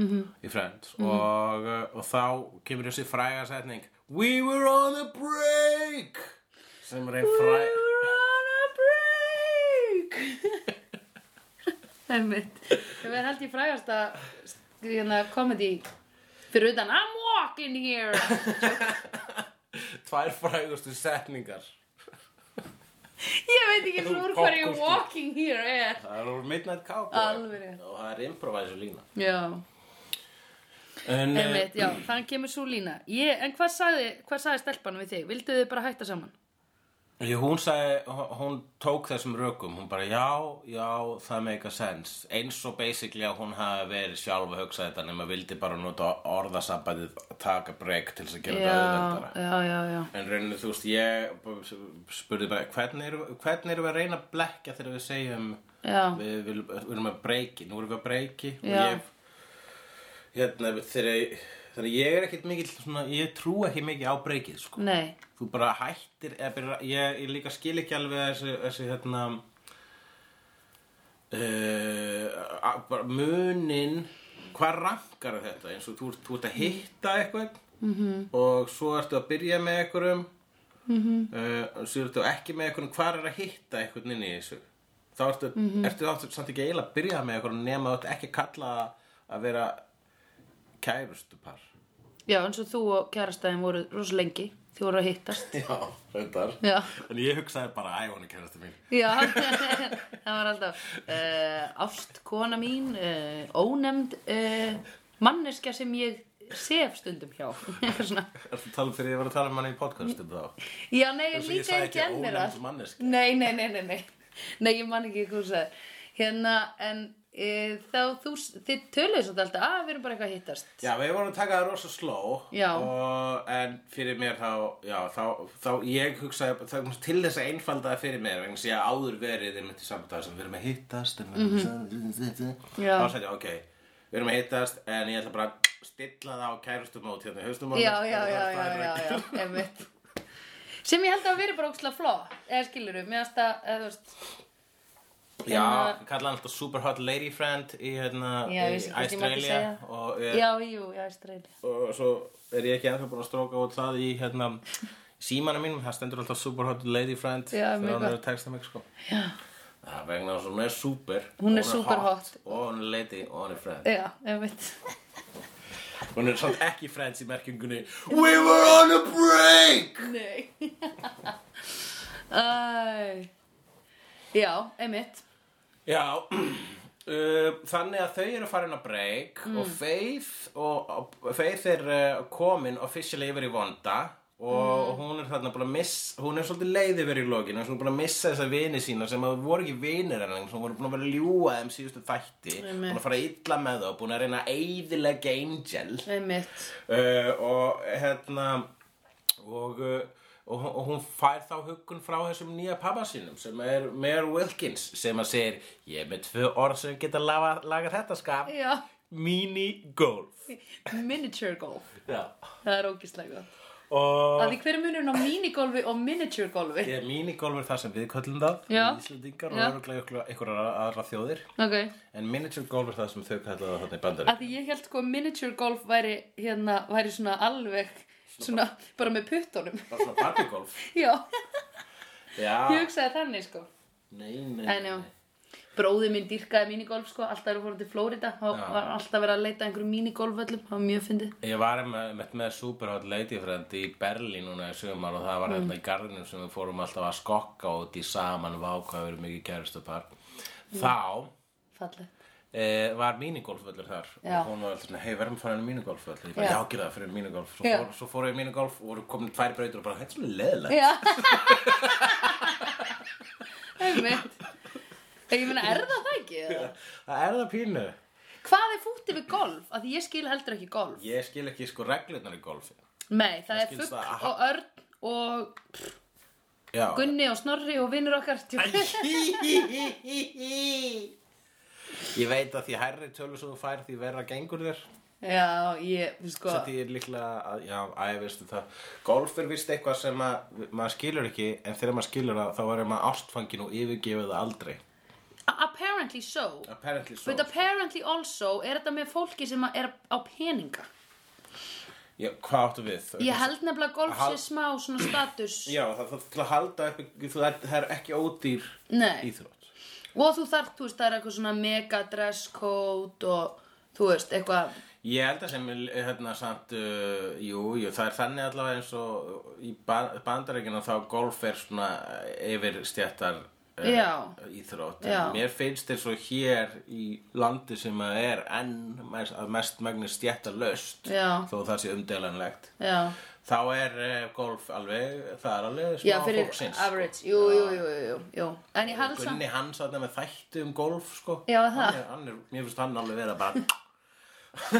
-hmm. í Friends og, uh, og þá kemur þessi fræga setning We were on a break sem er einn fræ
We're on a break Einmitt Það verður held ég frægast að hérna komedi fyrir utan I'm walking here
tvær frægustu setningar
Ég veit ekki úr hverju walking here er
það er úr Midnight
Alveg
Cowboy
rétt.
og það er improviser lína
Já,
en, eh,
einmitt, já, þannig kemur svo lína ég, En hvað sagði, hvað sagði stelpan við þig? Vildu þið bara hætta saman?
Jú, hún sagði, hún tók þessum rökum, hún bara já, já, það make a sense. Eins og basically að hún hafi verið sjálf að hugsa þetta nema vildi bara nota orðasambandið taka breyk til þess að gera
Já,
þetta auðvendara.
já, já, já
En rauninni, þú veist, ég spurði bara, hvernig erum, hvernig erum við að reyna að blekja þegar við segjum
Já,
við, við, við erum að breyki, nú erum við að breyki og
Já.
ég, hérna, þegar, þegar ég er ekkert mikill, svona, ég trú ekki mikið á breykið, sko
nei,
þú bara hættir eða byrja, ég, ég líka skil ekki alveg þessi, þessi hérna uh, bara munin hvað rankar þetta eins og þú, ert- þú ert að hitta eitthvað -hmm. og svo ertu að byrja með einhverjum mm -hmm. svo ertu ekki með einhverjum hvað er að hitta eitthvað inn í þessu þá ertu, ertu þá samt ekki eiginlega að byrja með einhverjum nema þú ert ekki að kalla að vera kærustupar
já, eins og þú og kærastæðin voru rosa lengi Þið voru að hittast
já, reyndar
Já,
En ég hugsaði bara, æ, hún er kærastu mín.
já, það var alltaf uh, Ást kona mín, uh, ónefnd uh, Manneskja sem ég sef stundum hjá Eitthvað svona.
Ertu að tala um þegar ég var að tala um hann í podcast um þá?
Já, nei, ég
Eins og ég
líka
sagði
ekki
ekki
enn mér
ónefnd
allt.
manneskja.
Nei, nei, nei, nei, nei Nei, ég man ekki hvað þú sagði Hérna, en e, þá þú, þið töluðu svolítið alltaf að við erum bara eitthvað að hittast
Já, við vorum að taka það rosa sló
Já.
og, En fyrir mér þá, já, þá, þá ég hugsaði þá, til þess að einfalda það fyrir mér vegna þess að ég haf áður verið þeim til samtæða sem við erum að hittast en við erum að
Mhm. Já.
Þá sagði ég, ok, við erum að hittast en ég ætla bara að stilla það á kærustumót hérna í haustum
já, já, já, já, já, já, einmitt Sem ég held að vera bara ókslega fló eða skilur við, mér finnst að, eða þú veist
Já, ég kalla hann alltaf super hot lady friend í, hérna,
Hérna- Já, ég
í
vissi hvort ég mátti
Australia
segja.
og ég,
Já, jú, já, Ísraeli
og svo er ég ekki ennþá búin að stróka út það í hérna símanum mínum, það stendur alltaf superhot lady friend
Já, mjög
þegar hann er
gott.
að texta mig sko Já. það er vegna þess að hún er super
Hún er
og
superhot.
og hún er lady og hún er friend
Já, einmitt
hún er samt ekki friends í merkingunni we were on a break
Nei Æ Já, einmitt
já Uh, þannig að þau eru farin að break og Faith, og, og Faith er uh, komin officially yfir í vonda og hún er þarna bara að missa, hún er svolítið leið yfir í lokinu, hún er búin að missa þessa vini sína sem að voru ekki vinir hennar, hún voru búin að vera að ljúga þeim síðustu þætti,
Einmitt.
búin að fara illa með þau, búin að reyna að eyðilega Angel
Einmitt
uh, og hérna og, uh, og, og hún fær þá huggun frá þessum nýja pappa sínum sem er Mayor Wilkins sem að segir ég er með tvö orð sem geta laga, laga þetta skap
Já,
minigolf
miniature golf
já
Það er ógislega gott
og
Að því hver er munurinn á minigolfi og miniature golfi?
Ég, minigolf er það sem við köllum það
Já.
í Íslandingar og
Já.
örgulega ykkur aðra þjóðir
Ok.
en miniature golf er það sem þau kalla það þarna í bandar
Að því ég held sko að miniature golf væri hérna, væri svona alveg svona bara með puttunum.
bara svona barbygolf
já, ég
já,
hugsaði þannig sko.
nei, Ah. nei,
En já, bróði minn dýrkaði minigolf sko, alltaf eru fórum til Flórida og
Já.
var alltaf verið að leita að einhverjum minigolföllum, það var mjög fyndið.
Ég var með, með, með Superhot Lady Friend í Berlín núna í sögumar og það var hérna í garðinum sem við fórum alltaf að skokka út í saman vákvæður mikið kæristupar. Þá
Fallið.
e, var minigolfvöllur þar
Já.
og hún var alltaf svona, hei, verðum að fara inn í minigolfvöll. Ég bara,
Já.
já, gera það fyrir minigolf. Svo,
Já.
fór, svo fóru ég í minigolf og voru komin tvær brautur og bara, þetta er svona leðilegt.
Já. Einmitt. Ég meina, er það það ekki? eða?
Það er það pínu.
Hvað er fútið við golf? Að því ég skil heldur ekki golf.
Ég skil ekki sko reglurnar í golfi.
Nei, það er
skilst
fugg
það að-
og örn og
já.
Gunni og Snorri og vinnur okkar tjók.
Ég veit að því hærri tölur sem þú fær því verra gengur þér
Já, ég, þú sko
Svo því er líklega, að, já, æ, veistu það Golf er vist eitthvað sem að, maður skilur ekki En þegar maður skilur það, þá er maður ástfangin og yfirgefið það aldrei
A- Apparently so
Apparently so
But apparently also er þetta með fólki sem að er á peninga
já, Hvað áttu við?
Ég held nefnilega að golf
Hal-
sé smá svona status
Já, það, það, til að halda upp, það er, það er ekki ódýr
Nei,
íþrótt
og þú þarft, þú veist, það er eitthvað svona mega dress code og þú veist, eitthvað
Ég held að sem, hérna, samt, uh, jú, jú, það er þannig allavega eins og uh, í ba bandaríkina þá golf er svona yfir stjættar
Já.
íþrótt.
Já.
En Mér finnst þér svo hér í landi sem að er enn mest, að mest magnir stjættar löst,
Já.
þó það sé umdelanlegt.
Já,
Þá er uh, golf alveg, það er alveg smá
já fyrir
fólksins. sko.
average Jú, jú, jú, jú, jú, jú. En ég held samt
Gunni hann satt með þætti um golf sko.
Já, það.
hann er, hann er, Mér finnst hann alveg vera bara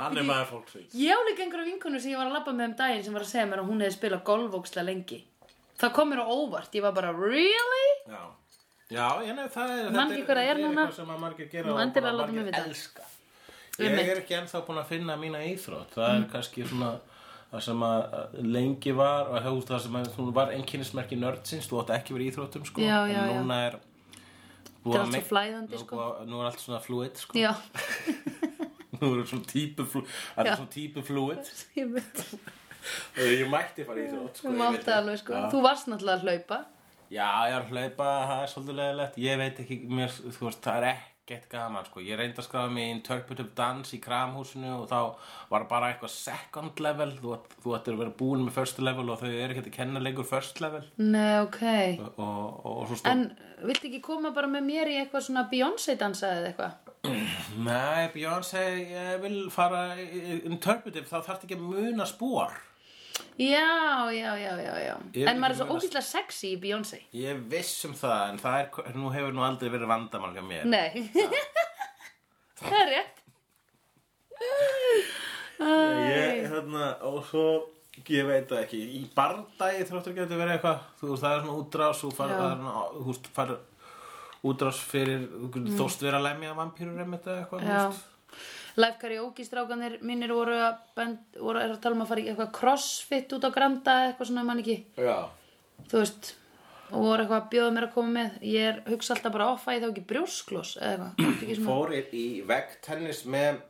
Hann er maður fólksins
Ég á líka einhverja vinkunum sem ég var að labba með um daginn sem var að segja mér að hún hefði spilað golfvókslega lengi Það kom mér á óvart, ég var bara, really?
Já, já ég nefn það er
Man ekki
þetta
hvað það er núna.
eitthvað sem að margir gera
Nú,
og
endilega
bara
látum við
margir
vita.
elska
Einmitt. Mm.
Ég er ekki ennþá búin að finna mína íþrótt Það er kannski svona það sem að lengi var og hefur það sem að þú var einkennismerki nördsins þú átt ekki verið í íþróttum sko
Já, já,
en
já.
núna er
Þetta er allt svo flæðandi, sko.
nú, nú er allt svona fluid sko
Já,
Nú er svona típu flu-
Já.
það er svona típu fluid
ég veit
Og Ég mætti fara í íþrótt sko,
Þú
ég veit
mátt
það.
alveg sko,
Já.
þú varst náttúrulega að hlaupa
Já, ég er að hlaupa, það er svolítið leðilegt Ég veit ekki, mér, þú veist, það er ekkert gaman sko. Ég reyndi að skrafa mig í interpretive dance í kramhúsinu og þá var bara eitthvað second level Þú, átt- þú ættir að vera búin með first level og þau eru ekki að kenna lengur first level
Nei, ok
Og, og, og svo stóð
En viltu ekki koma bara með mér í eitthvað svona Beyoncé dansa eða eitthvað?
Nei, Björnsei, ég vil fara í- í interpretive, þá þarf ekki að muna spór
Já, já, já, já, já
Ég er
En maður er
ekki
svo
að
ógíslega sexy í Beyoncé
Ég er viss um það, en það er, nú hefur nú aldrei verið vandamál hjá mér
Nei Það er rétt
ég, hérna, og svo ég veit það ekki, í bardagi þróttur getur verið eitthvað, þú veist, það er svona útrás og far,
Já.
það er svona, þú veist, far útrás fyrir, mm. þóst vera að lemja vampýrur einmitt eða eitthvað, þú
Já
veist
Life karaoke strákanir mínir voru að, bend, voru er að tala um að fara í eitthvað crossfit út á granda eða eitthvað svona mann ekki
Já,
þú veist og voru eitthvað að bjóða mér að koma með ég er hugsa alltaf bara offa ég þá ekki brjóskloss eða eitthvað Ertu ekki svona-
fór í, í veggtennis með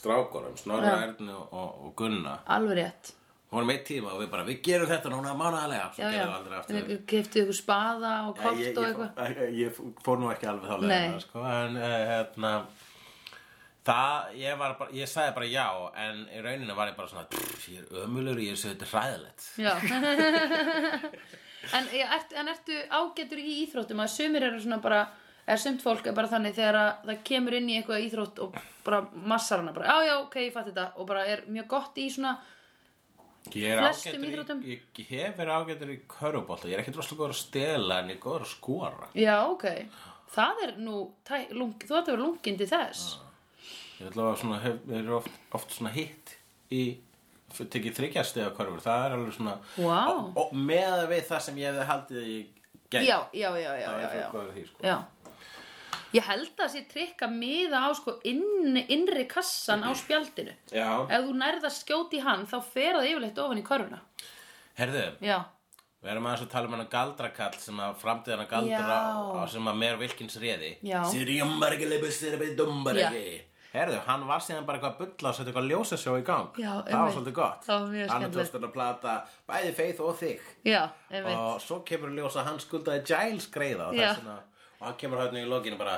strákunum, Snorra Erni og, og- og Gunna
alveg rétt
fórum eitt tíma og við bara, við gerum þetta núna mánaðalega, svo
já, já,
gerum við aldrei aftur
keftu ykkur spaða og kort
ég, ég,
og eitthvað
ég, ég, ég fór nú ekki alveg þá
Nei.
leiðina sko, en uh, hérna það, ég var bara, ég sagði bara já en í rauninu var ég bara svona pff, ég er ömulur, ég er svo þetta hræðilegt
já en, ég, ert, en ertu ágætur í íþróttum að sumir eru svona bara er sumt fólk er bara þannig þegar að það kemur inn í eitthvað íþrótt og bara massar hana bara, já já ok ég fatt þetta og bara er mjög gott í svona
ég er
Flestum
ágætur,
íþróttum.
í, ég, ég hef verið ágætur í körubólta, ég er ekki droslega góður að stela en ég er góður að skora
já ok það er nú, tæ, lung, þú ætti að vera lungindi þess
ég ætla að svona, hef, er oft, oft svona hitt í f- tekið þryggjast eða körfur, það er alveg svona
Vá.
og, og með við það sem ég hefði haldið að ég gæti
já, já, já, já,
það
já,
er
já.
fyrir góður í því sko
já. Ég held að sé trikk að miða á sko inn, innri kassan á spjaldinu.
sko. já.
Ef þú nærð að skjóti hann þá fer það yfirleitt ofan í körfuna. Eh.
Herðu,
Já,
Við erum aðeins að tala um hennar galdrakall sem að framtíðan að galdra
Já.
á sem að meir vilkins réði.
Já.
Sirjumbargi leipi, sirjumbargi, dumbargi. Herðu, hann var síðan bara eitthvað að bulla og setja eitthvað ljósasjó í gang.
Já,
það var
einmitt.
svolítið gott.
Það var mjög
Hann
skemmtilegt.
tókst hann að plata bæði Faith og þig.
já, einmitt.
Og svo kemur í ljós að hann skuldaði Giles greiða og
Já.
þess vegna. Og hann kemur hérna í lokinu bara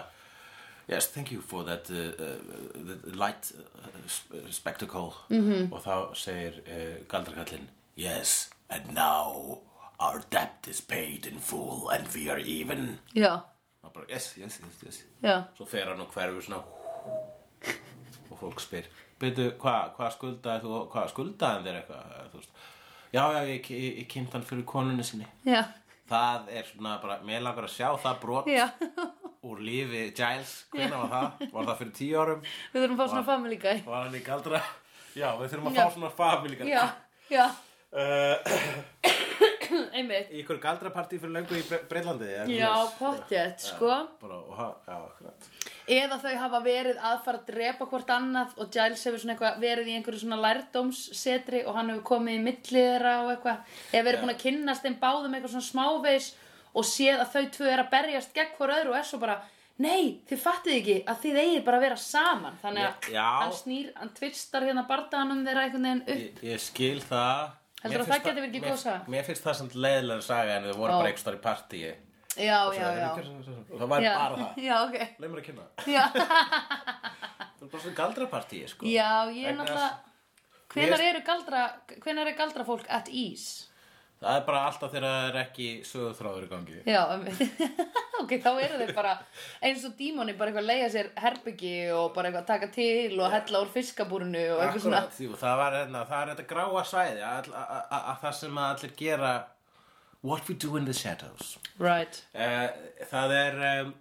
Yes, thank you for that uh, uh, the light uh, sp- spectacle
Mhm.
-hmm. Og þá segir uh, galdrakallinn Yes, and now our debt is paid in full and we are even
Já,
Og bara, yes, yes, yes, yes
já.
Svo fer hann og hverfur svona og fólk spyr Byrju, hvað hva skuldaði þú, hvað skuldaði hann þér eitthvað þú veist? Já, já, ég, ég, ég kynnt hann fyrir konunni sinni
Já,
Það er svona bara, mér langar að sjá það brot
já.
úr lífi Giles, hvenær var það? Var það fyrir tíu árum?
Við þurfum að fá svona family guy.
Var hann í galdra? Já, við þurfum að
Já.
fá svona family guy.
Já, já.
uh,
einmitt
í ykkur galdrapartí fyrir löngu í Bre- Bretlandi eða
já,
svoleiðis.
pottjett, sko
bara, og ha- já, akkurat
eða þau hafa verið að fara að drepa hvort annað og Giles hefur svona eitthvað verið í einhverju svona lærdómssetri og hann hefur komið í milli þeirra og eitthvað eða verið búin að kynnast þeim báðum eitthvað svona smávegis og séð að þau tvö er að berjast gegn hvort öðru og er svo bara nei, þið fattið ekki að þið eigið bara að vera saman þannig að
Já.
hann snýr, hann tvistar hérna bardaganum þeirra einhvern veginn upp
ég, ég skil það
Heldurðu
Mér
að
finnst
það geti verið ekki
mér-
góð saga?
mér finnst það samt leiðilega saga en þau voru
Ó.
bara einhver starf í partíi
já, já, já
og það var
já,
bara það
já, ok
leið mér að kynna það
já,
er bara svona galdrapartíi sko
já ég er
Vegna
náttúrulega hvenar eru galdra hvenar er galdrafólk at ease
það er bara alltaf þegar það er ekki sögurþráður í gangi
Já, einmitt. ok, þá eru þeir bara eins og dímoni bara eitthvað að leiða sér herbyggi og bara eitthvað að taka til og hella úr fiskabúrinu og eitthvað svona
Akkurat, jú, það var hérna, það er þetta gráa svæði að, að, að, að það sem að allir gera What we do in the shadows
Right,
uh, Það er um,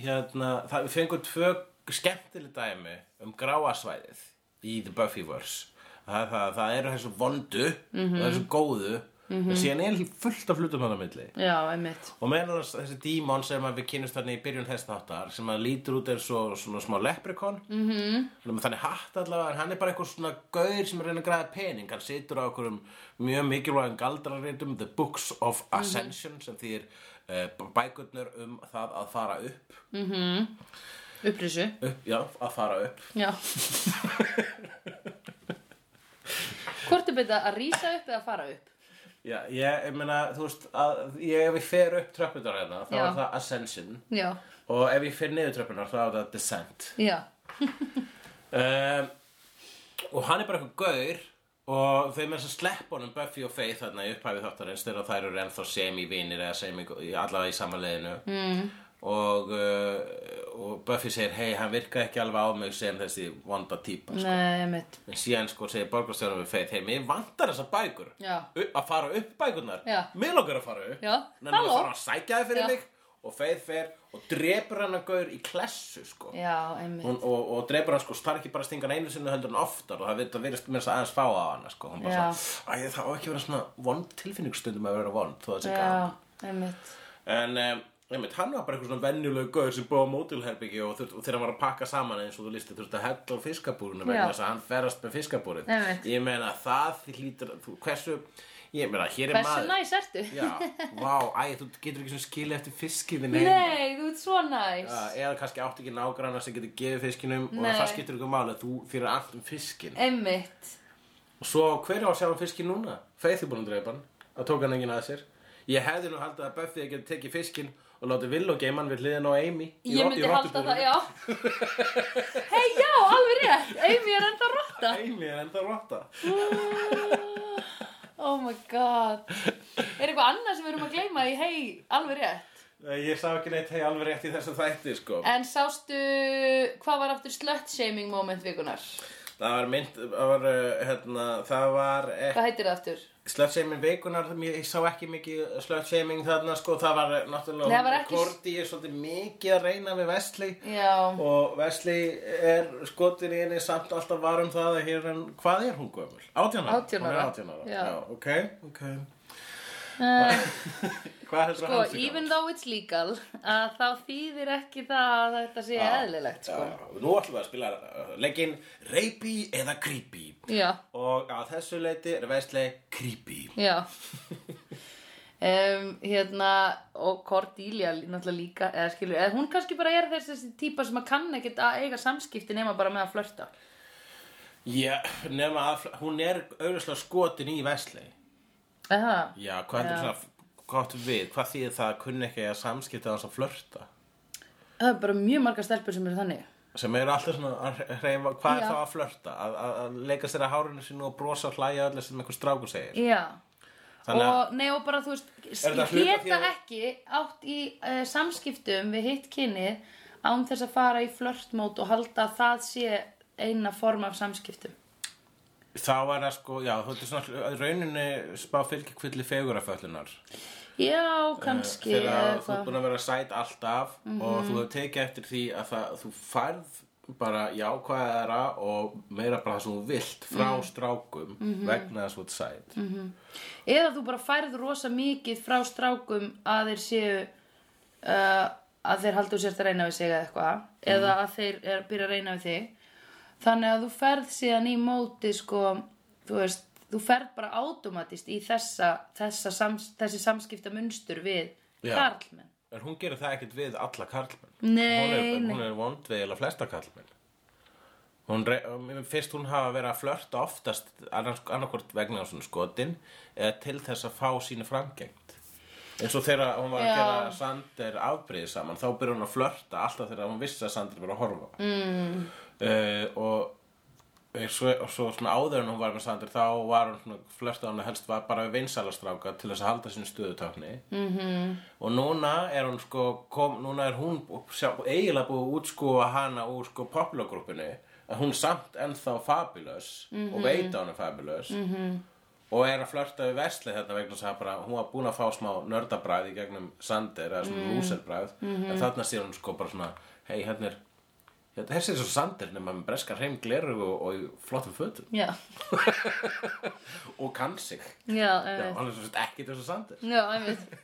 hérna, það, við fengum tvö skemmtileg dæmi um gráa svæðið í The Buffyverse Það, það, það eru þessu vondu
Mhm.
og þessu góðu en síðan er fullt af hlutum hann á milli
já, einmitt
og meðan þess- þessi dímon sem að við kynumst þarna í byrjun þessnáttar sem að lítur út eins og svona smá leprikon mm -hmm. þannig hatt allavega en hann er bara eitthvað svona gaur sem er að reyna að græða pening hann situr á okkurum mjög mikilvægum galdrarreitum The Books of Ascension sem þýr uh, bækurnar um það að fara upp,
Upprisu,
upp já, að fara upp
já Hvort er betur að rísa upp eða fara upp?
já, ég, ég meina, þú veist að, ég, ef ég fer upp tröppunar hérna þá
Já.
er það Ascension
Já,
og ef ég fer niður tröppunar þá er það Descent
já,
um, og hann er bara eitthvað gaur og þau með þess að sleppa honum Buffy og Faith þarna í upphæfi þáttarins þegar þær eru ennþá semi-vinir eða semi í- allavega í samanleginu mm. og, uh, og Buffy segir hei, hann virkaði ekki alveg á mig sem þessi vonda típa
nei, einmitt
en síðan sko segir borgarstjóðan við Faith hei, mér vantar þessa bækur
Já,
U að fara upp bækurnar
Já.
mig langar að fara upp
Já,
Nenni að
halló.
fara að sækja þið
Já.
fyrir mig og Faith fer og drepur hann að gaur í klessu sko
já, einmitt
hún, og, og drefur hann sko, það er ekki bara að stinga hann einu sinni heldur hann oftar og það virðist- virðist mér aðeins fá á hana sko, hún bara
Já.
svona, æ það á ekki að vera svona vond tilfinning stundum að vera vond, þó það sé gaman
Já, einmitt
en um, einmitt, hann var bara eitthvað svona venjulegu gaur sem búið á mótilherbyggi og, þurft, og þegar hann var að pakka saman eins og þú listi þurfti að hella á fiskabúrinu
Já.
vegna þess að hann ferast með fiskabúrin
Einmitt.
ég meina það hlýtur, þú, hversu ég meina, hér er
Hversu
maður
næs ertu?
Já, vá, æ, þú getur ekki svona skilið eftir fiskiðin
Nei, þú ert svo næs
Já, Uh, eða kannski átt ekki nágranna sem getur gefið fiskinum
Nei.
og það skiptir ykkur máli þú fyrir allt um fiskin
Einmitt
og svo hver á að sjá um fiskin núna? Faith er búin að dreipa hann það tók hann enginn að sér ég hefði nú haldið að Buffy að geta tekið fiskin og látið Will og geimann við hliðin á Amy í
Ég
rot- í
myndi halda
rottubúrinu.
það, já Hei, já, alveg rétt Amy er enda rotta
Amy er enda rotta
Oh my god Er eitthvað annað sem við erum að gleyma í hei, alveg rétt
Nei, ég sá ekki neitt hei alveg rétt í þessu þætti sko.
En sástu, hvað var aftur slut-shaming moment vikunar?
það var mynd það var, uh, hérna, það var ekki
Hvað heitir það aftur?
Slutshaming vikunar, mér- ég sá ekki mikið slutshaming þarna sko, það var eh, náttúrulega
Nei, það var ekki-
Korti er svolítið mikið að reyna við Vesli
Já,
og Vesli er skotin í henni samt alltaf var um það að hér en hvað er hún gömul? 18 ára?
18
Hún er
ára.
18 ára,
Já.
ok, ok.
uh,
Hvað heldur
sko,
hann sig
even though it's legal að þá þýðir ekki það að þetta sé eðlilegt, sko
Nú ætlum við að spila uh, legginn Reipi eða Creepy
Já,
og að þessu leiti er Vesli Creepy.
já Um, hérna, og Cordelia náttúrulega líka, eða skilur, eða hún kannski bara er þess- þessi típa sem að kann ekkert að eiga samskipti nema bara með að flörta
Já, nema að hún er auðvitað skotin í Vesli.
Aha.
Já, hvað heldur svona, hvað áttu við, hvað þýðir það að kunni ekki að samskipta þess að flörta?
Það er bara mjög margar stelpur sem eru þannig
Sem eru alltaf svona að hreyfa,
Já.
hvað er þá að flörta? Að, að, að leika sér að hárinu sínu og brosa og hlæja öllu sem einhver strákur segir.
Já
Þannig að,
og nei og bara þú veist
Er þetta hluti af því
geta
að-
ekki átt í uh, samskiptum við hitt kynið án þess að fara í flörtmót og halda að það sé eina form af samskiptum
þá er það sko, já, þú veitir svona, að rauninni spá fylgjikvilli feguraföllunar.
já, kannski
Eh, Þegar
eða
þú ert
eitthvað. Mhm.
búin að vera sæt alltaf og þú hefur tekið eftir því að það, þú færð bara jákvæðara og meira bara það sem hún vilt frá
Mhm.
strákum vegna þess út sæt mm -hmm.
Eða þú bara færð rosa mikið frá strákum að þeir séu uh, að þeir haldu sérst að reyna við sig eða eitthvað eða að þeir er, byrja að reyna við þig þannig að þú ferð síðan í móti sko, þú veist þú ferð bara automatist í þessa, þessa sams, þessi samskipta munstur við
Já.
karlmenn
en hún gerir það ekkert við alla karlmenn hún er,
Nei, nei,
hún er vond við eða flesta karlmenn hún re, mér finnst hún hafa verið að flörta oftast annars, annarkvort vegna á svona skotin eða til þess að fá sínu framgengt eins og þegar hún var að
Já.
gera Sander afbrið saman þá byrja hún að flörta alltaf þegar hún vissi að Sander var að horfa mm. og eh, svo, og svo svona áður en hún var með Sander þá var hún svona flörta hún helst var bara við vinsalastráka til þess að halda sínu stöðutakni mm -hmm. og núna er hún sko kom, núna er hún bú- sjá, eiginlega búið að útskúa hana úr sko populagrúppinu að hún samt ennþá fabulous og veit að hún er fabulous mm -hmm og er að flörta við Vesli þetta vegna þess að bara, hún var búin að fá smá nördabræð í gegnum Sander eða svona mm. lúserbræð
Mhm.
en þarna sér hún sko bara svona hei hérna er Þetta þessi er svo Sander nema með breskar hreim gleru og, og í flottum fötum
já,
og kann sig
já,
Já,
einmitt
hann er svo sem ekki þessu Sander
Já, einmitt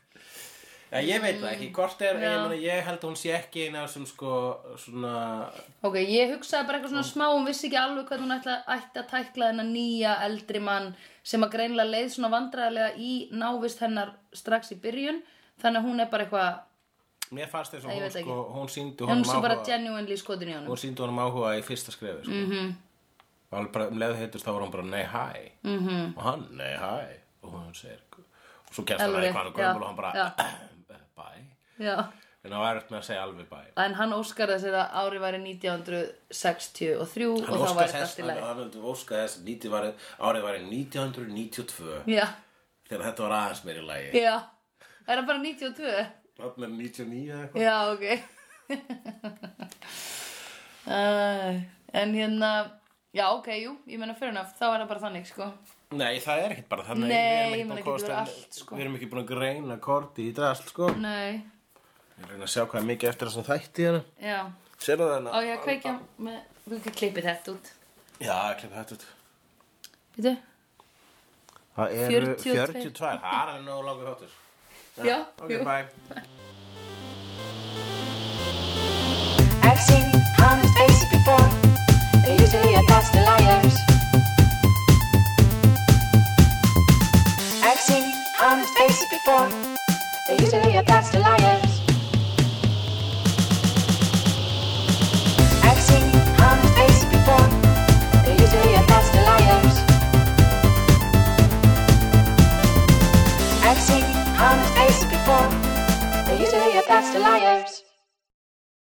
Já, ég veit það ekki, hvort er, ég,
Mm. Já.
meni, ég held að hún sé ekki eina sem sko svona
Ok, ég hugsaði bara eitthvað svona smá, hún vissi ekki alveg hvað hún ætla, ætti að tækla þennan nýja eldri mann sem að greinlega leið svona vandræðilega í návist hennar strax í byrjun, þannig að hún er bara eitthvað,
mér fannst þess að
Nei, ég
hún
veit
sko, hún síndi
hún
honum
sem bara
áhuga
genuinely skotin í honum.
hún síndi honum áhuga í fyrsta skrefi sko. mm
Mhm.
-hmm. og alveg bara um leiðu heitust þá var hún bara nei hæ mm
Mhm,
-hmm. og hann nei hæ og hún segir og svo kemst hann
Alveg,
aðeins hvað hann er gömul
já,
og hann bara
já.
bæ
Já,
en það var eftir með að segja alveg bæ
en hann óskar þess að ári væri 1963 og
hann
þá
óskar
var þetta allt
þess
í
hann
lagi.
hann óskar þess nítið var árið var 1992
Já,
þegar þetta var aðeins meiri lagi
já, er hann bara 92?
hann er 99 eða eitthvað
Já, ok uh, En hérna Já, ok, jú, ég meina fyrir enough Þá er það bara þannig, sko
nei það er ekkert bara þannig
Nei,
við erum
ég
ekkert
meina
búin að
getur verið
komast en-
allt, sko.
við erum ekki búin að greina korti í drasl sko
Nei,
ég reyna að sjá hvað er mikið eftir þessum þætti hérna
já
sérðu það hérna
Á ég að kveikja með Þú ekki klippið þetta út
já klipp þetta út
Veitu?
Það eru
42.
42, það er nógu langur þáttur.
Já,
Ok,
jú
bye.
I've seen honest faces before. They're usually a pass to liars. I've seen honest faces before. They're usually a pass to liars. I've seen honest faces before. They're usually a pass to liars. I've seen honest faces before. They're usually a pass to liars.